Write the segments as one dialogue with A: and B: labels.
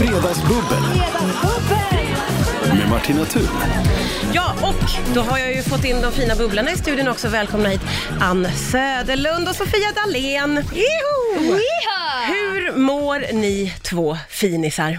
A: Fredagsbubbel med Martina Thun.
B: Ja, och då har jag ju fått in de fina bubblorna i studion också. Välkomna hit Ann Söderlund och Sofia Dalén. Joho! Hur mår ni två finisar?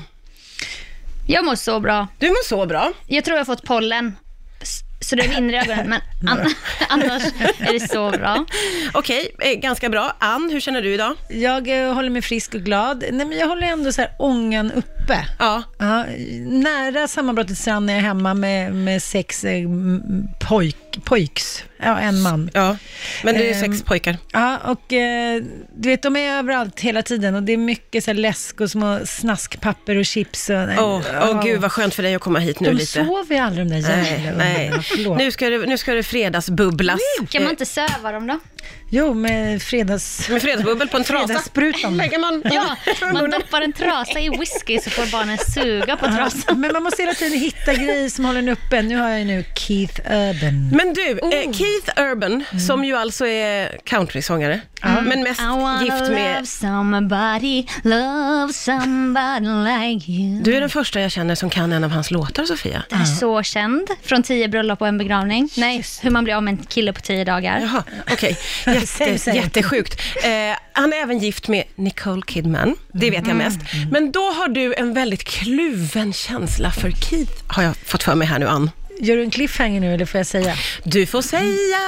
C: Jag mår så bra.
B: Du mår så bra.
C: Jag tror jag har fått pollen. S- Så det är inre ögonen, men an- annars är det så bra.
B: Okej, eh, ganska bra. Ann, hur känner du idag?
D: Jag eh, håller mig frisk och glad. Nej, men jag håller ändå så här ångan uppe.
B: Ja.
D: Ja, nära sammanbrottet strand när jag är hemma med, med sex eh, m- pojk, pojks. Ja, en man.
B: Ja, men det är ju
D: Ehm,
B: sex pojkar.
D: Ja, och eh, du vet, de är överallt hela tiden och det är mycket så här läsk och små snaskpapper och chips. och-
B: Åh, åh, gud vad skönt för dig att komma hit nu
D: De
B: lite.
D: sover ju aldrig de där
B: Nej,
D: jävla
B: nej.
D: ungarna. Förlåt.
B: Nu ska det, nu ska det fredagsbubblas.
C: Kan man inte söva dem då?
D: Jo, med fredags...
B: Eh, Med fredagsbubbel på en trasa.
D: Fredagssprutan.
B: Lägger man
C: Ja, man doppar en trasa i whisky så får barnen suga på trasan.
D: Men man måste hela tiden hitta grejer som håller en uppe. Nu har jag ju nu Keith Urban.
B: Men du, eh, Keith Urban, som ju alltså är countrysångare, men mest
C: I wanna
B: gift
C: love
B: med...
C: somebody, love somebody like you.
B: Du är den första jag känner som kan en av hans låtar, Sofia.
C: Den är så känd, från tio bröllop och en begravning. Nej, hur man blir av med en kille på tio dagar.
B: Jaha, okej.
D: Säg,
B: Jätte,
D: säg.
B: jättesjukt. Eh, han är även gift med Nicole Kidman, det vet jag mest. Men då har du en väldigt kluven känsla för Keith, har jag fått för mig här nu, Ann.
D: Gör du en cliffhanger nu eller får jag säga?
B: Du får säga...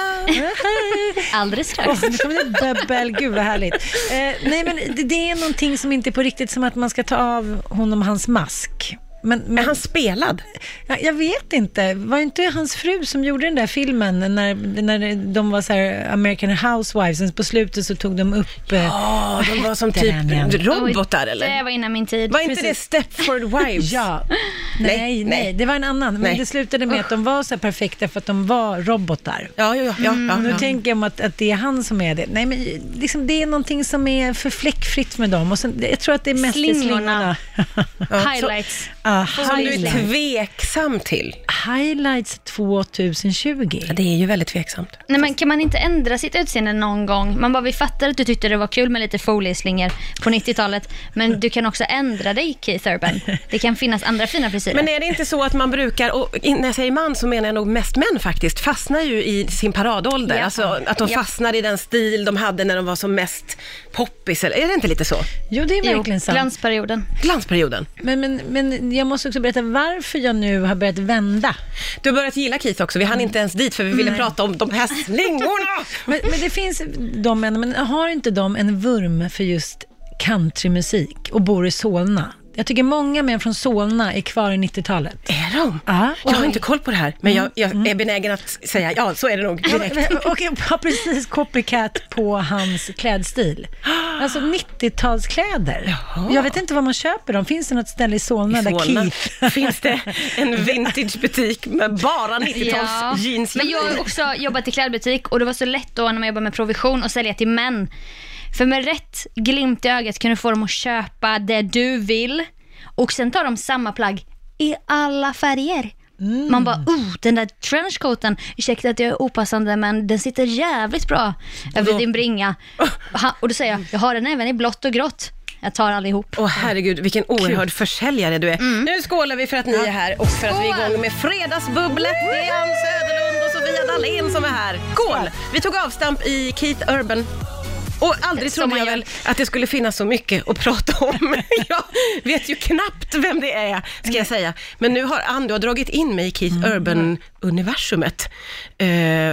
C: Alldeles strax.
D: Åh, nu kommer det bubbel, gud vad härligt. Eh, nej men det, det är någonting som inte är på riktigt som att man ska ta av honom hans mask. Men,
B: Är
D: men
B: han spelad?
D: jag, jag vet inte, var inte hans fru som gjorde den där filmen när, när de var så här American Housewives, sen på slutet så tog de upp... eh,
B: Ja, de var som
D: hette
B: typ
D: den igen?
B: robotar,
C: Oj,
B: eller?
C: Det var innan min tid.
B: Var inte det Stepford Wives?
D: Ja,
B: Nej,
D: nej, nej,
B: nej.
D: det var en annan. Men
B: Nej.
D: det slutade med att de var så här perfekta för att de var robotar.
B: Ja, ja, ja. ja, ja,
D: Nu
B: ja.
D: tänker jag om att, att det är han som är det. Nej, men liksom, det är någonting som är för fläckfritt med dem. Och sen, jag tror att det är mest i
C: Slingorna.
D: slingorna.
B: Ja,
C: Highlights.
D: Ah,
B: Som du är
D: highlights.
B: tveksam till.
D: highlights 2020.
B: Ja, det är ju väldigt tveksamt.
C: Nej, men kan man inte ändra sitt utseende någon gång? Man bara, vi fattar att du tyckte det var kul med lite folieslingor på 90-talet, men du kan också ändra dig, Keith Urban. Det kan finnas andra fina frisyrer.
B: Men är det inte så att man brukar, och in- när jag säger man så menar jag nog mest män faktiskt, fastnar ju i sin paradålder.
C: Ja.
B: Alltså att de
C: Ja.
B: fastnar i den stil de hade när de var som mest poppis. Eller, är det inte lite så?
D: Jo, det är
C: Jo,
D: verkligen sant.
C: glansperioden.
B: Glansperioden.
D: Men, men, men jag måste också berätta varför jag nu har börjat vända.
B: Du har börjat gilla Keith också, vi hann inte ens dit för vi ville prata om de här slingorna.
D: Men, men det finns de männen, men har inte de en vurm för just countrymusik och bor i Solna? Jag tycker många män från Solna är kvar i 90-talet.
B: Är de?
D: Ja.
B: Jag har inte koll på det här, men jag, jag är benägen att s- säga Mm. ja, så är det nog direkt.
D: Och jag har precis copycat på hans klädstil. Alltså 90-talskläder. Jag vet inte vad man köper dem. Finns det något ställe i Solna,
B: I
D: där
B: Solna
D: Keith...
B: finns det en vintagebutik med bara 90-tals jeans.
C: Men jag har också jobbat i klädbutik och det var så lätt då när man jobbar med provision att sälja till män. För med rätt glimt i ögat kan du få dem att köpa det du vill och sen tar de samma plagg i alla färger. Man bara, oh, den där trenchcoaten, ursäkta att jag är opassande men den sitter jävligt bra över din bringa. Och han- Och då säger jag, jag har den även i blått och grått. Jag tar allihop.
B: Åh herregud, vilken oerhörd försäljare du är. Nu skålar vi för att ni är här och för att vi är igång med Fredagsbubblet. Det är Ann Söderlund och Sofia Dalén som är här. Skål! Vi tog avstamp i Keith Urban. Och aldrig
C: Som
B: trodde
C: man
B: jag
C: gör.
B: väl att det skulle finnas så mycket att prata om. Jag vet ju knappt vem det är, ska jag säga. Men nu har Ann, du har dragit in mig i Keith Urban-universumet. Eh,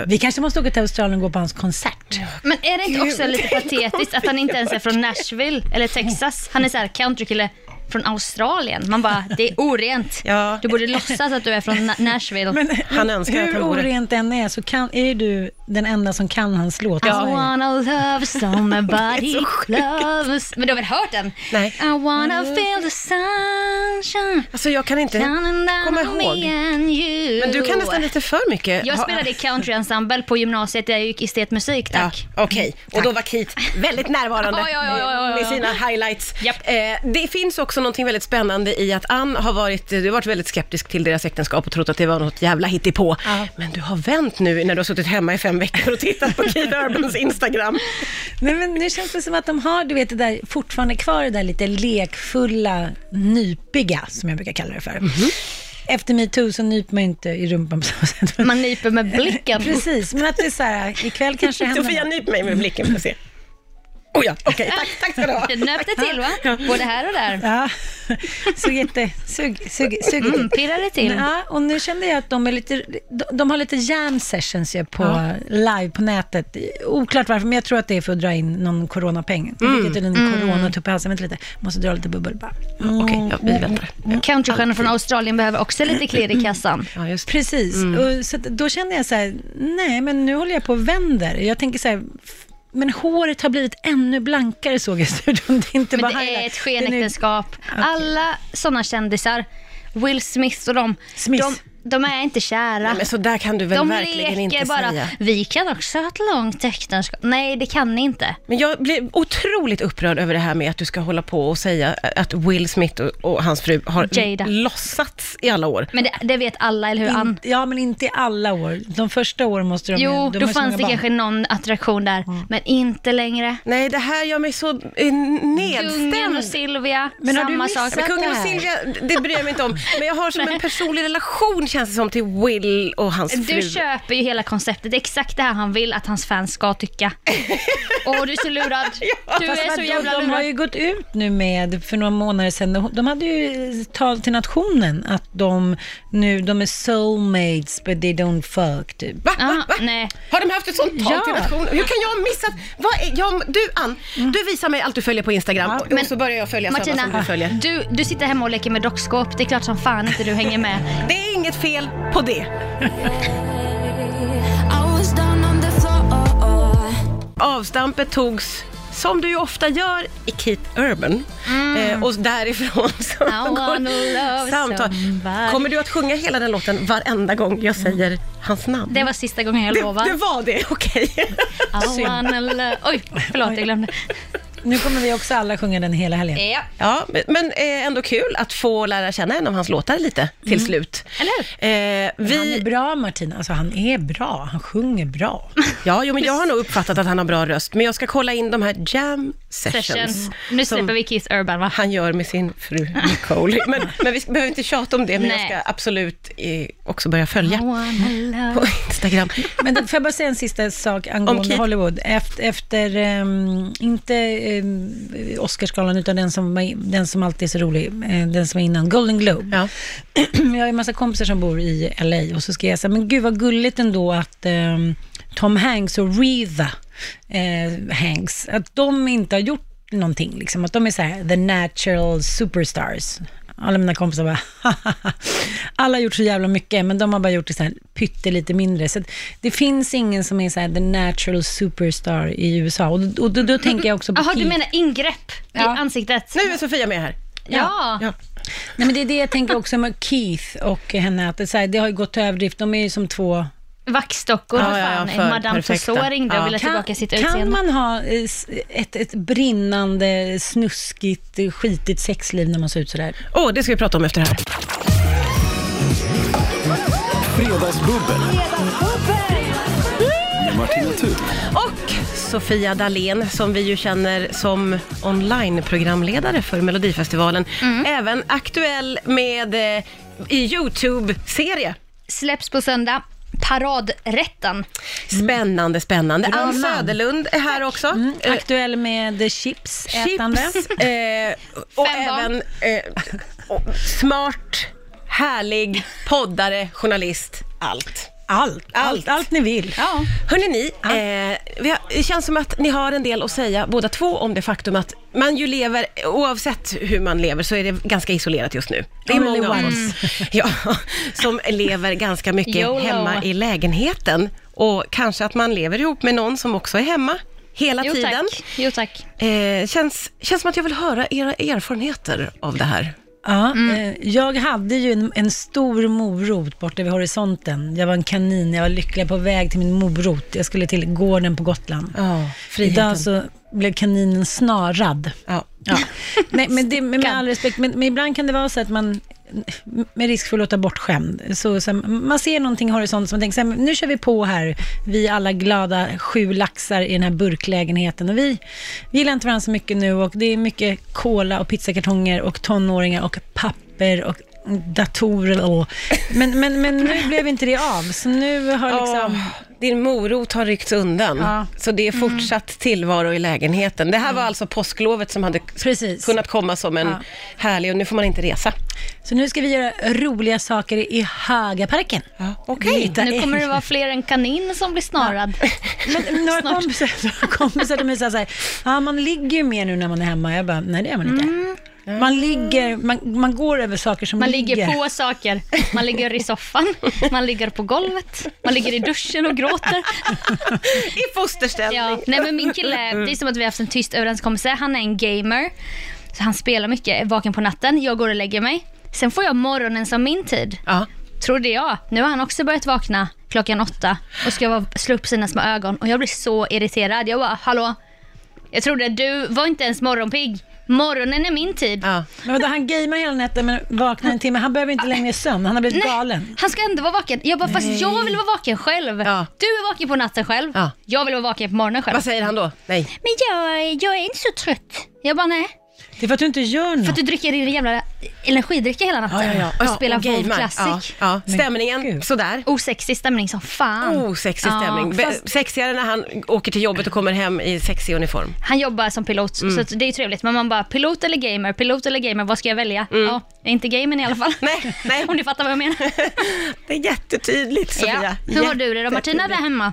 D: Vi kanske måste åka till Australien och gå på hans konsert.
C: Men är det inte också lite patetiskt att han inte ens är från Nashville eller Texas? Han är så här countrykille från Australien. Man bara, det är orent.
B: Ja.
C: Du borde låtsas att du är från Na- Nashville.
B: Han önskar att
D: Hur
B: han vore-
D: orent den är så kan, är ju du den enda som kan hans låt. Alltså, i
C: I
D: Sverige.
C: wanna love somebody
B: Det är så sjukt.
C: loves... Men du har väl hört den?
B: Nej. Mm.
C: I wanna feel the sunshine
B: alltså jag kan inte
C: down
B: komma
C: on me
B: ihåg.
C: and you.
B: Men du kan nästan lite för mycket.
C: Jag
B: Ha-
C: spelade i countryensemble på gymnasiet där jag gick estetmusik, tack.
B: Ja, Okej, och då var Keith väldigt närvarande
C: Ja, ja, ja, ja, ja, ja.
B: med sina highlights.
C: Japp.
B: Eh, det finns också någonting väldigt spännande i att Ann har varit, du har varit väldigt skeptisk till deras äktenskap och trott att det var något jävla hittepå.
D: Ja.
B: Men du har vänt nu när du har suttit hemma i fem veckor och tittat på Keith Urbans Instagram.
D: Nej, men nu känns det som att de har, du vet, det där, fortfarande kvar det där lite lekfulla, nypiga, som jag brukar kalla det för.
B: Mhm.
D: Efter metoo så nyper man ju inte i rumpan på samma sätt.
C: Man nyper med blicken.
D: Precis, men att det är så här, ikväll kanske händer
B: Sofia,
D: något.
B: nyp mig med blicken för att se. Oh ja, okej, tack, tack ska du ha.
C: Det nöp det till va? Både här och där.
D: Ja, så jätte, sug, sug, sug.
C: Mm, pirrar det till.
D: Ja, och nu kände jag att de, är lite, de, de har lite jam sessions ju på live på nätet. Oklart varför, men jag tror att det är för att dra in någon coronapeng. Mm. Det är tydligen en coronatupp i halsen. Vänta lite, måste dra lite bubbel bara.
C: Mm.
B: Okej, ja, vi väntar.
C: Countrystjärnor från Australien behöver också lite klirr i kassan.
B: Ja, just det.
D: Precis,
C: Mm.
D: och, så att, då kände jag så här, nej men nu håller jag på och vänder. Jag tänker så här, f- men håret har blivit ännu blankare såg jag i studion. Det är inte bara
C: Men det är
D: highlight.
C: ett
D: är nu-
C: skenäktenskap. Alla sådana kändisar, Will Smith och de,
D: Smith.
C: de, de är inte kära.
B: Men så där kan du väl
C: De
B: verkligen inte
C: leker bara,
B: säga.
C: vi kan också ha ett långt äktenskap. Nej, det kan ni inte.
B: Men jag blir otroligt upprörd över det här med att du ska hålla på och säga att Will Smith och, och hans fru har
C: Jada.
B: låtsats i alla år.
C: Men det, det vet alla, eller hur Ann?
D: In, ja, men inte i alla år. De första åren måste de
C: Jo,
D: de har
C: då
D: ju så
C: fanns
D: många
C: det
D: barn. Mm.
C: kanske någon attraktion där, men inte längre.
B: Nej, det här gör mig så eh,
C: Kungen och
B: nedstämd.
C: Silvia,
D: Men har du
C: samma
D: missat
C: sak.
B: Men kungen och
D: det här.
B: Silvia, det bryr jag mig inte om. Men jag har som en personlig relation känns det som till Will och hans fru.
C: Du köper ju hela konceptet. Det är exakt det här han vill att hans fans ska tycka. Åh, du är så lurad. Du
D: Fast
C: är så
D: de-
C: jävla
D: de har
C: lurad.
D: ju gått ut nu med, för några månader sedan, de hade ju tal till nationen att de nu, de är soulmates but they don't fuck typ.
B: Va?
C: Ah,
B: Va? Va?
C: nej.
B: Har de haft ett sånt tal
D: Ja.
B: till nationen? Hur kan jag ha missat? Vad är, jag, du Ann, du visar mig allt du följer på Instagram och, och så börjar jag följa samma som
C: Mm. Martina, Ah.
B: du följer.
C: du, du sitter hemma och leker med dockskåp. Det är klart som fan inte du hänger med.
B: Det är inget fel på det.
E: I was down on the floor.
B: Avstampet togs, som du ju ofta gör, i Keith Urban.
C: Mm.
B: Eh, och därifrån så
C: wanna love
B: samtal.
C: somebody.
B: Kommer du att sjunga hela den låten varenda gång jag säger hans namn?
C: Det var sista gången jag
B: det, det
C: lovade.
B: var det, okej.
C: I wanna love- Oj, förlåt jag glömde.
D: Nu kommer vi också alla sjunga den hela helgen.
C: Ja.
B: Ja, men- men eh, ändå kul att få lära känna en av hans låtar lite till slut.
C: Mm. Eller hur?
B: Eh, vi,
D: Han är bra Martina, alltså han är bra, han sjunger bra.
B: Ja, jo, men jag har nog uppfattat att han har bra röst, men jag ska kolla in de här jam sessions.
C: Sessions. Nu
B: som-
C: släpper vi Keith Urban va?
B: han gör med sin fru Nicole. Men, men vi behöver inte tjata om det, men
C: Nej.
B: jag ska absolut eh, också börja följa
C: I wanna love-
B: på Instagram.
D: Men det- får jag bara säga en sista sak angående
B: Keith.
D: Hollywood? Efter, efter ehm, inte ehm, Oscarsgalan, utan den som, var- den som alltid är så rolig, eh, den som var innan, Golden Globe.
B: Ja.
D: jag har ju massa kompisar som bor i LA och så skrev jag så här, men gud vad gulligt ändå att ehm, Tom Hanks och Reeva eh, Hanks, att de inte har gjort någonting, liksom. att de är så här, the natural superstars. Alla mina kompisar bara, alla har gjort så jävla mycket, men de har bara gjort det så här pyttelite mindre. Så att det finns ingen som är så här the natural superstar i USA. Och, och då, då tänker jag också på
C: Jaha, du
D: Keith.
C: menar ingrepp
D: Ja.
C: i ansiktet?
B: Nu är Sofia med här.
C: Ja.
B: Ja.
D: Nej, men det är det jag tänker också med Keith och henne, att det, är så här, det har ju gått till överdrift. De är ju som två
C: Vaxdockor,
B: Ja,
C: vad
B: ja,
C: fan.
B: ja, för
C: Madame
B: perfekta.
C: Tussauds ringde
B: Ja.
C: och ville
D: Kan-
C: tillbaka sitt
D: Kan
C: utseende.
D: man ha eh, s- ett, ett brinnande, snuskigt, eh, skitigt sexliv när man ser ut sådär?
B: Åh, det ska vi prata om efter det här.
A: Fredagsbubbel med Martina Thun.
B: Och Sofia Dalén som vi ju känner som online-programledare för Melodifestivalen.
C: Mm.
B: Även aktuell med eh, i Youtube-serie.
C: Släpps på söndag. Paradrätten.
B: Spännande, spännande.
D: Bra
B: Ann
D: man.
B: Söderlund är här också.
C: Mm.
B: Eh,
D: Aktuell med eh, chips, ätande.
B: chips eh, och
C: Fem barn.
B: även eh, och smart, härlig poddare, journalist, allt.
D: Allt,
B: Allt.
D: allt, allt ni vill.
C: Ja.
B: Hörrni ni, eh, vi har, det känns som att ni har en del att säga båda två om det faktum att man ju lever, oavsett hur man lever, så är det ganska isolerat just nu. Det är
D: Only
B: många av
D: once.
B: oss ja, som lever ganska mycket
C: YOLO.
B: hemma i lägenheten och kanske att man lever ihop med någon som också är hemma hela
C: Jo
B: tiden.
C: tack. Jo tack.
B: Eh, känns, känns som att jag vill höra era erfarenheter av det här.
D: Ja, eh, Jag hade ju en, en stor morot borta vid horisonten. Jag var en kanin, jag var lycklig på väg till min morot. Jag skulle till gården på Gotland.
B: Ja, friheten.
D: Idag så blev kaninen snarad.
B: Ja.
D: Ja. Liksom, Nej, men det, men med all respekt, men, men ibland kan det vara så att man med risk för att låta bortskämd. Så, så, man ser någonting i horisonten som man tänker, så här, nu kör vi på här, vi alla glada sju laxar i den här burklägenheten och vi, vi gillar inte varandra så mycket nu och det är mycket cola och pizzakartonger och tonåringar och papper och datorer och... Men, men, men nu blev inte det av, så nu har liksom...
B: Åh, Oh. din morot har ryckts undan,
D: Ja.
B: så det är fortsatt tillvaro i lägenheten. Det här var alltså påsklovet som hade
D: Precis.
B: kunnat komma som en
D: Ja.
B: härlig, och nu får man inte resa.
D: Så nu ska vi göra roliga saker i Hagaparken.
B: Okej.
D: Lite
C: Nu kommer det vara fler än kanin som blir snarad.
D: Men några
C: Snart.
D: kompisar, några kompisar de är så här, så här, ja man ligger ju mer nu när man är hemma. Jag bara, nej det gör man inte. Man ligger, man, man går över saker som
C: Mm. Man ligger på saker. Man ligger i soffan, man ligger på golvet, man ligger i duschen och gråter.
B: I fosterställning.
C: Ja. Nej, men min kille, det är som att vi har haft en tyst överenskommelse. Han är en gamer, så han spelar mycket, är vaken på natten. Jag går och lägger mig. Sen får jag morgonen som min tid.
B: Ja.
C: Trodde jag. Nu har han också börjat vakna klockan åtta och ska vara, slå upp sina små ögon och jag blir så irriterad. Jag bara, hallå? Jag trodde du var inte ens morgonpigg. Morgonen är min tid.
B: Ja.
D: Men vadå, han gamer hela natten men vaknar en timme. Han behöver inte längre sömn, han har blivit galen.
C: Han ska ändå vara vaken. Jag bara, fast jag vill vara vaken själv.
B: Ja.
C: Du är vaken på natten själv.
B: Ja.
C: Jag vill vara vaken på morgonen själv.
B: Vad säger han då? Nej.
C: Men jag, jag är inte så trött. Jag bara, nej.
D: Det är för att du inte gör något.
C: För att du dricker din jävla energidricka hela natten. Och spelar
B: gamar.
C: WoW Classic.
B: Ja. Ja.
D: Men
B: Stämningen,
D: gud.
B: sådär.
C: Osexig stämning som fan.
B: Osexig
C: Mm. Ja,
B: stämning. Be- Sexigare när han åker till jobbet och kommer hem i sexig uniform.
C: Han jobbar som pilot,
B: Mm.
C: så att det är ju trevligt. Men man bara, pilot eller gamer, pilot eller gamer, vad ska jag välja? Ja, inte gamern i alla fall.
B: Mm. Nej, nej.
C: Om du fattar vad jag menar.
B: Det är jättetydligt,
C: ja.
B: Sofia.
C: Hur har du det då? Martina där hemma?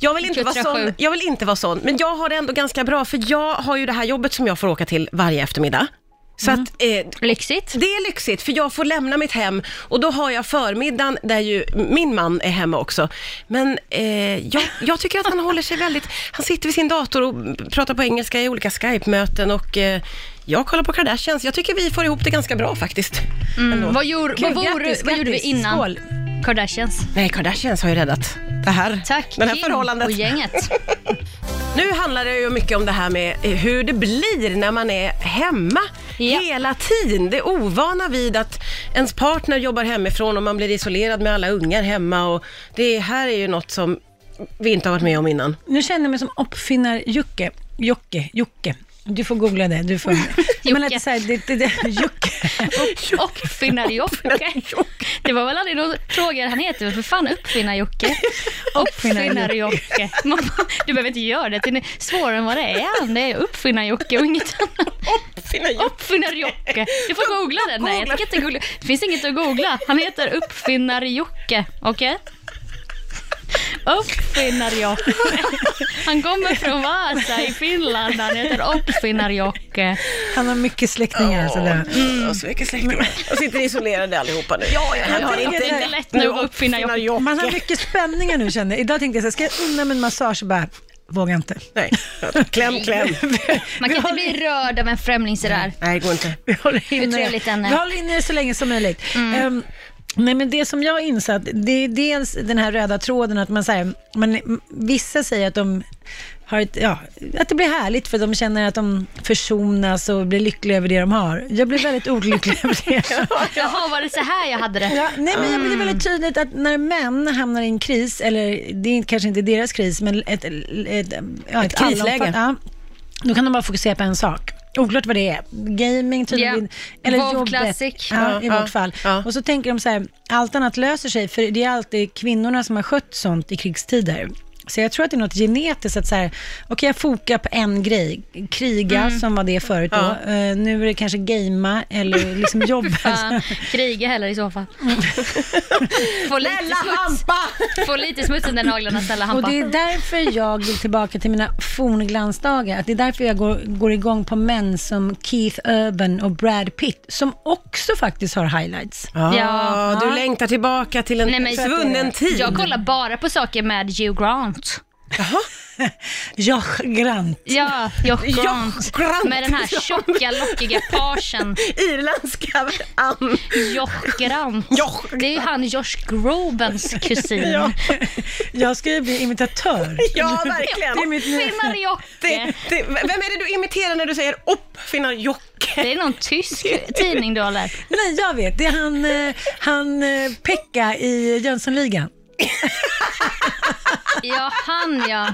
B: Jag vill, inte vara
C: 27.
B: sån, jag vill inte vara sån, men jag har det ändå ganska bra för jag har ju det här jobbet som jag får åka till varje eftermiddag. Så
C: Mm.
B: att, eh,
C: Lyxigt.
B: det är lyxigt för jag får lämna mitt hem och då har jag förmiddagen där ju min man är hemma också. Men eh, jag, jag tycker att han håller sig väldigt, han sitter vid sin dator och pratar på engelska i olika Skype-möten och eh, jag kollar på Kardashians. Jag tycker vi får ihop det ganska bra faktiskt.
C: Mm. Vad, gjorde,
D: Kul,
C: vad, vore,
D: grattis,
C: vad gjorde vi
D: grattis.
C: innan
D: Skål.
C: Kardashians?
B: Nej, Kardashians har ju räddat det här,
C: Tack
B: det här
C: Kim
B: förhållandet.
C: och gänget.
B: Nu handlar det ju mycket om det här med eh, hur det blir när man är hemma
C: Ja.
B: hela tiden. Det ovana vid att ens partner jobbar hemifrån och man blir isolerad med alla ungar hemma och det här är ju något som vi inte har varit med om innan.
D: Nu känner jag mig som uppfinnar-Jocke. Jocke, Jocke. Du får googla det. Du får... Men att det är så här, det, det, det, Jocke.
C: Uppfinnar-Jocke. Det var väl aldrig någon fråga han heter, för fan uppfinnar-Jocke. Uppfinnar-Jocke. Man bara, Du behöver inte göra det till svårare än vad det är. Det är uppfinnar-Jocke och inget annat. Uppfinnar-Jocke. Du får googla det. Nej, jag tänker inte googla. Det finns inget att googla. Han heter Uppfinnar-Jocke. Okej? Uppfinnar-Jocke. Han kommer från Vasa i Finland. Han heter Uppfinnar-Jocke.
D: Han har mycket släktingar. Så där.
B: Och så mycket släktingar. Och sitter isolerade allihopa nu. Ja, jag har
D: tänker att det är
C: lätt nu att uppfinna
B: jobb.
D: Man har mycket spänningar nu känner jag. Idag tänkte jag så här, ska jag unna mig en massage? Bara, vågar inte.
B: Nej, kläm, kläm.
C: Man kan inte bli rörd av en främling sådär.
B: Nej, det går inte.
D: Vi håller inne,
C: trevligt, Anne? Mm.
D: Vi håller inne det så länge som möjligt. Ehm, Nej, men det som jag har insatt, det är dels den här röda tråden att man säger, man, vissa säger att de har ett, ja, att det blir härligt för de känner att de försonas och blir lyckliga över det de har. Jag blir väldigt olycklig över det.
C: Jaha, var det så här jag hade det?
D: Ja, nej, men jag blir väldigt tydligt att när män hamnar i en kris, eller det är kanske inte deras kris, men ett, ett, ett, ja, ett
B: krisläge.
D: allomfatt- Ja, då kan de bara fokusera på en sak. Oklart vad det är. Gaming tydligen.
C: Ja.
D: Eller
C: WoW
D: jobbet.
C: Classic.
D: Ja, I
B: Ja, ja,
D: vårt fall.
B: ja.
D: Och så tänker de så här, allt annat löser sig, för det är alltid kvinnorna som har skött sånt i krigstider. Så jag tror att det är något genetiskt att så här, okej jag fokar på en grej, kriga som var det förut då. Eh, nu är det kanske gamea eller liksom jobbet.
C: Fan, kriga heller i så fall. Få lite smuts, få lite smuts under naglarna, snälla
D: Och
C: Hampa.
D: det är därför jag vill tillbaka till mina fornglansdagar. Att det är därför jag går, går igång på män som Keith Urban och Brad Pitt, som också faktiskt har highlights.
B: Ja,
C: Ja.
B: du längtar tillbaka till en
C: Nej, men-
B: svunnen tid.
C: Jag kollar bara på saker med Hugh Grant.
D: Ja, grant.
C: Ja, Jock
B: Jock
C: Grant.
B: Grant.
C: Med den här tjocka, lockiga pagen.
B: Irländska Ann.
C: Jock Grant.
B: Jock.
C: Det är ju han Josh Grobens kusin.
D: Ja. Jag ska ju bli imitatör.
B: Ja, verkligen.
D: Det är mitt nya...
C: Finnar Jocke.
B: Det, det, vem är det du imiterar när du säger uppfinnar-Jocke?
C: Det är någon tysk tidning du har lärt.
D: Nej, jag vet. Det är han, eh, han eh, Pekka i Jönssonligan.
C: Ja, han ja.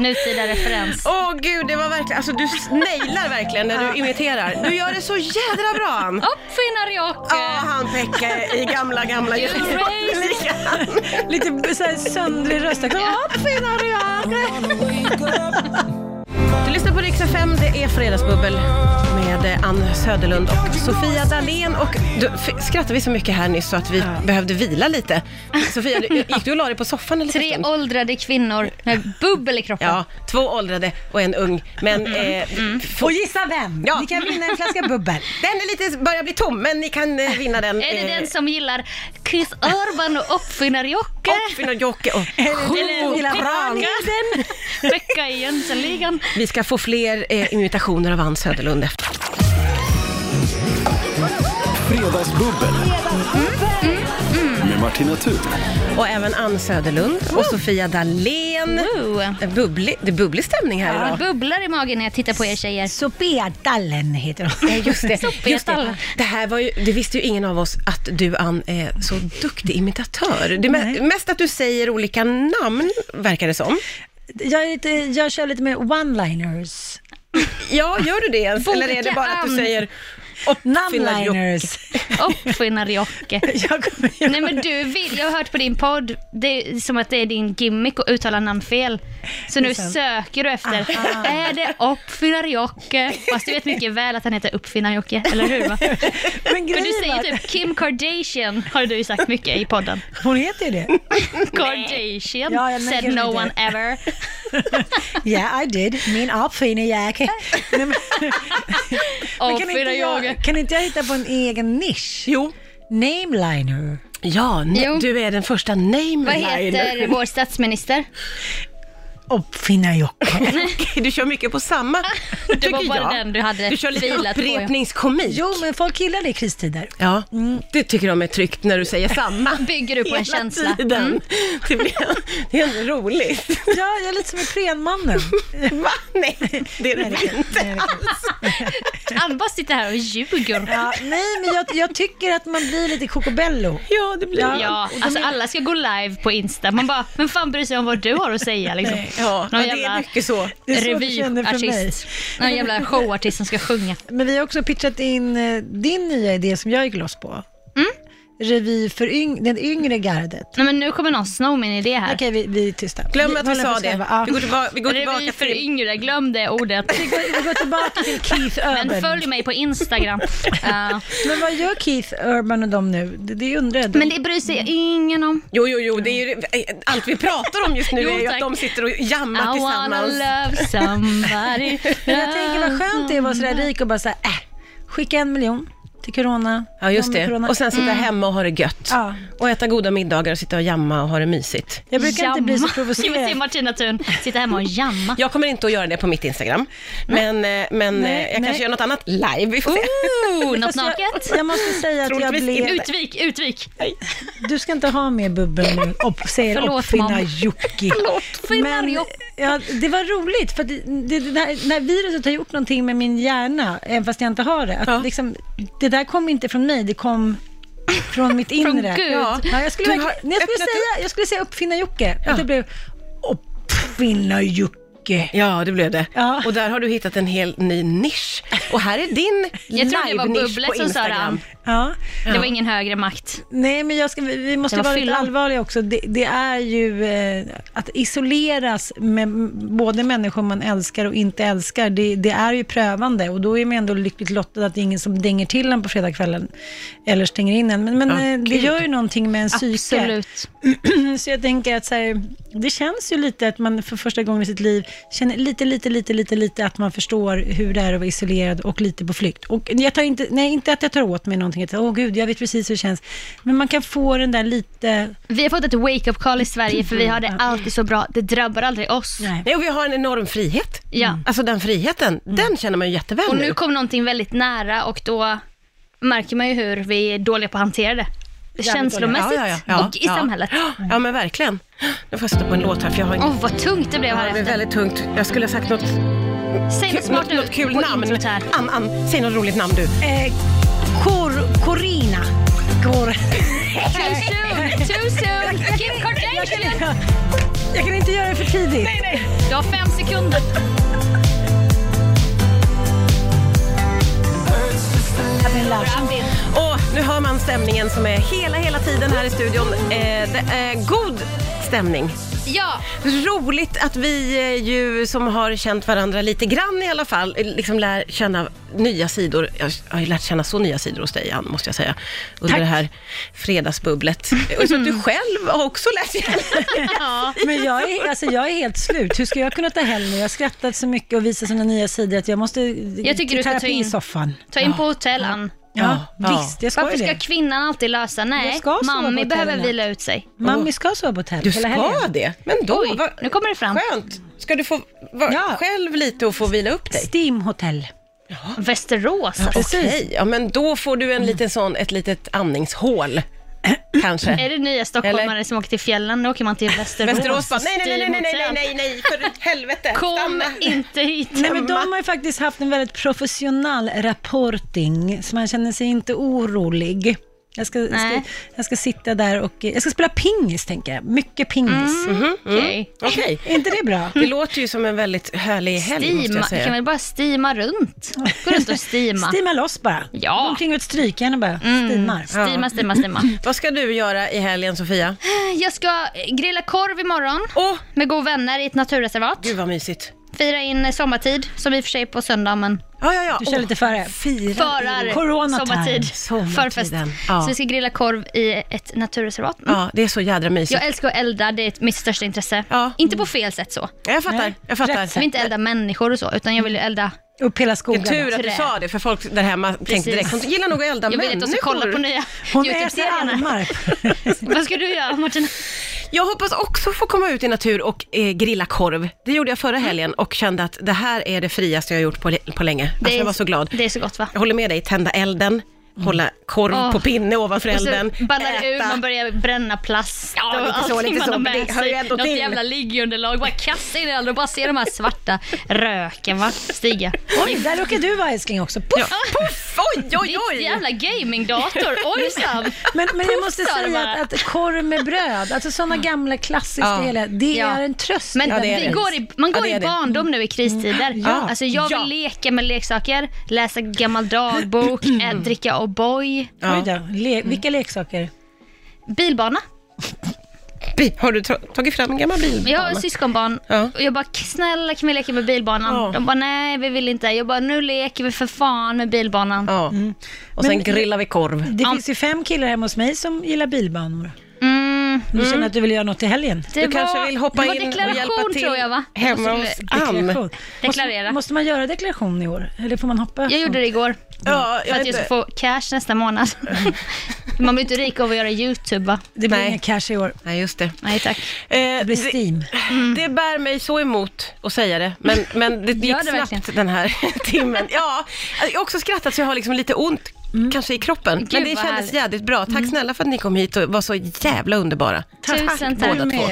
C: Nutida referens.
B: Åh gud, det var verkligen, alltså du nailar verkligen när du imiterar. Du gör det så jädra bra Ann.
C: Uppfinnar
B: Ja,
C: Jocke.
B: han Pekka i gamla, gamla
C: You're
B: Jönssonligan.
D: Lite b- så här söndrig röst.
B: Uppfinnar Du lyssnar på Rix FM, det är Fredagsbubbel med eh, Ann Söderlund och Sofia Dalén. Och du, f- skrattade vi så mycket här nyss så att vi behövde vila lite. Sofia, du- gick du och la dig på soffan en liten
C: Tre
B: stund?
C: åldrade kvinnor med bubbel i kroppen.
B: Ja, två åldrade och en ung. Men eh, f-
D: Och gissa vem?
B: Ja.
D: Mm. Ni kan vinna en flaska bubbel.
B: den är lite, börjar bli tom, men ni kan eh, vinna den.
C: Är det
B: eh,
C: den som gillar Chris Urban och Uppfinnar-Jocke?
B: Uppfinnar Jocke och
D: Eller Lilla Bran.
C: Pekka i Jönssonligan.
B: Vi ska få fler eh, imitationer av Ann Söderlund efter.
A: Fredagsbubbel. Med Martina Thun.
B: Och även Ann Söderlund och Sofia Dalén.
C: Wow.
B: En Bubblig, det är bubblig stämning här
C: Det
B: idag.
C: bubblar i magen när jag tittar på er tjejer.
D: Sofia Dallen heter
B: Ja,
D: hon.
B: Just det.
C: Soppetal.
B: Just det. det här var ju, det visste ju ingen av oss att du Ann är så duktig imitatör. Det är me-
D: Nej.
B: mest att du säger olika namn, verkar det som.
D: Jag, är lite, jag kör lite med one-liners.
B: Ja, gör du det ens? Eller är det
C: Boka
B: bara att du
C: Ann.
B: säger uppfinnar Jocke?
D: Namnliners.
C: Uppfinnar-Jocke.
D: Jag kommer göra
C: Nej men du vill, jag har hört på din podd, det är som att det är din gimmick att uttala namn fel. Så nu söker du efter, är det Uppfinnar-Jocke? Fast du vet mycket väl att han heter Uppfinnar-Jocke, eller hur? Va?
D: Men
C: För du
D: grejen
C: säger
D: var-
C: typ Kim Kardashian, har du ju sagt mycket i podden.
D: Hon heter ju det.
C: Kardashian,
D: Ja, jag
C: said
D: lägger
C: no
D: det.
C: one ever.
D: Yeah I did. Min uppfinnerjäkel. Nej, men- Men kan inte
C: Uppfinnar-Jocke.
D: jag- Kan inte jag hitta på en egen nisch?
B: Jo.
D: Nameliner.
B: Ja, ne-
C: Jo.
B: du är den första nameliner.
C: Vad heter vår statsminister?
D: Uppfinnar-Jocke.
B: Du kör mycket på samma,
C: Det
B: tycker
C: var bara
B: jag.
C: den du hade
B: Du kör lite
C: filat på, ja.
B: upprepningskomik.
D: Jo, men folk gillar det i kristider.
B: Ja, det tycker de är tryggt när du säger samma.
C: Bygger du Mm. på en
B: Hela
C: känsla. Mm.
B: Tiden. Det, blir, det är ändå roligt.
D: Ja, jag är lite som Iprenmannen.
B: Va? Nej, det är det inte.
C: Han bara sitter här och ljuger.
D: Ja, nej, men jag, jag tycker att man blir lite kokobello.
B: Ja, det blir det.
C: Ja, alltså alla ska gå live på Insta. Man bara, men fan bryr sig om vad du har att säga liksom.
B: Ja,
C: Någon
B: ja, det är
C: jävla
B: mycket så.
D: Det är så det känner för
C: revyartist. Någon jävla showartist som ska sjunga.
D: Men vi har också pitchat in eh, din nya idé som jag gick loss på. Mm. Revy för yng- det yngre gardet.
C: Nej men nu kommer någon sno min idé här.
D: Okej, vi, vi är tysta.
B: Glöm att vi
D: håller
B: sa
D: för
B: det.
D: skarva. Ja.
B: Vi går tillbaka, vi går
C: Revy
B: tillbaka
C: för
B: till...
C: yngre, glöm det ordet.
D: Vi går, vi går tillbaka till Keith Urban.
C: Men
D: Men,
C: följ mig på Instagram. Ja.
D: vad gör Keith Urban och dem nu? Det, det undrar jag.
C: men det bryr sig ingen om.
B: Jo, jo, jo, det är ju, allt vi pratar om just nu
C: Jo,
B: är ju att
C: tack.
B: de sitter och
C: I
B: jammar
C: wanna
B: tillsammans.
C: love somebody.
D: Men jag tänker vad skönt det är att vara sådär
B: Mm.
D: rik och bara såhär, äh, skicka en miljon till corona.
B: Ja, just
D: Någon med
B: det.
D: corona.
B: Och sen sitta
C: Mm.
B: hemma och ha det gött.
D: Ja.
B: Och äta goda middagar och sitta och jamma och ha det mysigt.
D: jag brukar inte bli så
C: Se
D: provocerad.
C: Martina Thun sitta hemma och jamma.
B: Jag kommer inte att göra det på mitt Instagram, men, eh, men
D: Nej,
B: eh, jag
D: nej.
B: kanske gör något annat live. Vi får se.
C: Ooh, något
D: Fast
C: naket.
D: Jag, jag måste säga att jag
B: Troligtvis
D: blev...
B: inte.
C: Utvik, utvik.
D: Du ska inte ha mer bubbel nu, och säger
C: Förlåt, mamma.
D: uppfinnar-Jocke.
C: Uppfinnar-Jocke.
D: ja, det var roligt, för det, det, det, när, när viruset har gjort någonting med min hjärna, även fast jag inte har det, att
B: Ja.
D: liksom, det där kom inte från mig, det kom från mitt inre.
C: Gud.
D: Ja. Ja, jag, skulle
B: Du har
D: verkligen- nej, jag, skulle
B: öppnat
D: säga, jag skulle säga uppfinnar-Jocke,
B: Ja.
D: och det blev uppfinnar-Jocke.
B: Ja, det blev det.
D: Ja.
B: Och där har du hittat en hel ny nisch. Och här är din
C: Jag tror det var
B: live-nisch
C: Bubblet
B: på
C: som sa det,
B: Instagram.
C: Ann.
D: Ja.
C: Det var ingen högre makt.
D: Nej, men jag ska, vi vi måste
C: Det var
D: vara lite
C: fyllan.
D: allvarliga också. Det, det är ju eh, att isoleras med m- både människor man älskar och inte älskar. Det, det är ju prövande och då är man ändå lyckligt lottad att det är ingen som dänger till en på fredagskvällen eller stänger in en. Men, men
B: Ja,
D: eh, det
B: gud.
D: gör ju någonting med en psyke.
C: Absolut.
D: så jag tänker att så här, det känns ju lite att man för första gången i sitt liv känner lite, lite, lite, lite, lite att man förstår hur det är att vara isolerad och lite på flykt. Och jag tar inte, nej, inte att jag tar åt mig någonting någonting, att åh gud, jag vet precis hur det känns. Men man kan få den där lite,
C: Vi har fått ett wake-up call i Sverige för vi har det alltid så bra. Det drabbar aldrig oss.
D: nej.
B: Mm. Nej, och vi har en enorm frihet.
C: Ja. Mm.
B: Alltså den friheten, den känner man ju jätteväl
C: Och
B: nu.
C: nu kom någonting väldigt nära och då märker man ju hur vi är dåliga på att hantera det. Känslomässigt
B: Ja, ja, ja. Ja,
C: och i
B: ja.
C: samhället.
B: Ja, men verkligen. Nu får jag sätta på en låt här, för jag har
C: Åh,
B: en...
C: vad tungt det blev här
B: Ja, det är
C: efter.
B: väldigt tungt. Jag skulle ha sagt något,
C: Säg
B: kul,
C: något smart
B: något,
C: nu
B: något kul
C: på
B: namn.
C: introt här.
B: Ann, Ann, säg något roligt namn du.
D: Eh, Cor- Corina. Cor-
C: Too soon, too soon. Kim Kardashian!
D: jag kan inte göra det för tidigt.
C: Du har fem sekunder.
D: Abel Larsson.
B: Och nu hör man stämningen som är hela, hela tiden här i studion. Eh, det är god stämning.
C: Ja,
B: Roligt att vi eh, ju som har känt varandra lite grann i alla fall, eh, liksom lär känna nya sidor. Jag har ju lärt känna så nya sidor hos dig, Ann, måste jag säga, under
D: Tack.
B: det här fredagsbubblet. Och så att du själv har också lärt känna.
D: Men jag är, alltså jag är helt slut. Hur ska jag kunna ta hem mig? Jag har skrattat så mycket och visat sådana nya sidor att jag måste
C: Jag tycker du ska ta in-
D: i soffan.
C: ta in på hotell, Ann.
D: Ja,
B: Ja.
D: visst, jag ska
C: Varför
D: ju
C: ska
D: det.
C: kvinnan alltid lösa?
D: Jag
C: Nej,
D: ska sova
C: mammi
D: på
C: behöver
D: hotellet.
C: vila ut sig.
D: Mammi ska sova på hotell
B: Du
D: hela
B: ska
D: helgen.
B: det, men då,
C: Oj,
B: vad
C: nu kommer det fram.
B: skönt. Ska du få vara
D: Ja.
B: själv lite och få vila upp dig?
D: Steam hotell.
C: Västerås. alltså.
B: Okej, ja, men då får du en liten sån, ett litet andningshål, kanske.
C: Är det nya stockholmare som åker till fjällen? Nu åker man till Västerås.
B: Västerås bara, nej, nej, nej, nej, nej, nej,
C: Steamhotell.
B: nej, nej, för helvete,
C: Kom
B: stanna.
C: inte hit.
D: Nej, men de har ju faktiskt haft en väldigt professionell rapporting, så man känner sig inte orolig. Jag ska, jag ska,
C: Nej.
D: jag ska sitta där och... Jag ska spela pingis, tänker jag. Mycket pingis.
C: Mhm. Okej.
B: Okej.
D: Är inte det bra?
B: Det låter ju som en väldigt härlig helg, måste
C: Steama.
B: jag
C: Kan
B: säga.
C: vi bara steama runt? Gå runt och steama.
D: Steama loss bara.
C: Ja.
D: Gå omkring och ett strykjärn och bara steamar.
C: Steama, steama, steama.
B: Vad ska du göra i helgen, Sofia?
C: Jag ska grilla korv imorgon
B: Åh,
C: med god vänner i ett naturreservat.
B: gud vad mysigt.
C: Fira in sommartid, som i och för sig är på söndag, men
B: Ja, ja, ja.
D: Du kör
B: Åh,
D: lite före.
B: Fira.
C: förar
D: Corona
C: sommartid.
D: time.
B: Sommartiden,
C: Förfest.
B: ja.
C: Så vi ska grilla korv i ett naturreservat. Mm.
B: Ja, det är så jädra mysigt.
C: Jag älskar att elda, det är ett- mitt största intresse.
B: Ja.
C: Inte på fel sätt så.
B: Jag, jag fattar,
D: Nej.
B: jag fattar.
D: Rätt
C: Jag
D: sätt.
C: vill inte elda människor och så, utan jag vill
B: Mm.
C: ju elda...
D: Upp hela
B: Det är
D: skogen.
B: tur att du
C: Trä.
B: sa det, för folk där hemma tänkte direkt, hon gillar nog att elda
C: Jag vill att de ska kolla på nya
D: Hon
C: typ
D: äter
C: YouTube-serierna.
D: armar.
C: Vad ska du göra Martina?
B: Alltså, Jag hoppas också få komma ut i natur och eh, grilla korv. Det gjorde jag förra
C: Mm.
B: helgen och kände att det här är det friaste jag har gjort på, på länge. Alltså, jag var så glad.
C: Det är så gott va?
B: Jag håller med dig, tända elden, hålla korv
C: Åh.
B: på pinne ovanför
C: Och så
B: elden,
C: ballar det ur, man börjar bränna plast
B: Ja,
C: och
B: lite så,
C: allting
B: lite
C: man
B: så.
C: har
B: Det
C: med
B: hör ju
C: sig.
B: ändå
C: Något
B: till.
C: jävla liggunderlag, bara kasta in i elden och bara se de här svarta röken va, stiga.
D: Oj, där råkar du vara älskling också. Puff.
B: Ja. Puff! Oj, oj,
C: Ditt
B: oj!
C: jävla gamingdator, ojsan!
D: Men, men jag måste
C: Puff, sa det
D: säga
C: bara.
D: att, att korv med bröd, alltså sådana gamla klassiska
B: Ja.
D: hela, det
C: Mm. Ja.
D: är en tröst.
C: Men
B: Ja, det är
C: vi
B: det.
C: går i, man
B: Ja,
C: går
B: det är
C: i
B: det.
C: barndom nu i kristider.
B: Ja.
C: Alltså jag vill
B: Ja.
C: leka med leksaker, läsa gammal dagbok, ä, dricka O'boy,
D: Oj då, le-
C: Mm.
D: vilka leksaker?
C: bilbana.
B: Bi- Har du ta- tagit fram en gammal bilbana?
C: Jag har ett syskonbarn
B: Ja.
C: och jag bara, snälla kan vi leka med bilbanan?
B: Ja.
C: De bara, nej vi vill inte. Jag bara, nu leker vi för fan med bilbanan.
B: Ja. Och sen
D: Men-
B: grillar vi korv.
D: Det finns ju fem killar hemma hos mig som gillar bilbanor.
C: Mm,
D: Du känner att du vill göra något i helgen?
C: det
B: Du
C: var,
B: kanske vill hoppa
C: det var
B: in och
C: deklaration,
B: hjälpa till
C: tror jag va?
B: hemma
C: Jag,
B: hos
C: skulle,
B: Ann.
D: Deklaration.
C: Deklarera.
D: Måste, måste man göra deklaration i år? Eller får man hoppa?
C: jag gjorde det igår.
B: Ja, jag
C: För
B: vet
C: att jag ska
B: inte.
C: få cash nästa månad. Man blir inte rik av att göra YouTube va?
D: Det blir
B: Nej.
D: ingen cash i år.
B: Nej, just det.
C: Nej tack.
B: Eh,
D: Det blir Steam.
B: Det bär mig så emot att säga det, men, men det gick
C: Mm. Gör det
B: snabbt
C: verkligen?
B: den här timmen. Ja, jag har också skrattat så jag har liksom lite ont, kanske i kroppen. men det
C: Mm. vad
B: kändes
C: härligt. Mm.
B: jädrigt bra. Tack snälla för att ni kom hit och var så jävla underbara.
C: Tusen
B: båda
C: tack.
B: två.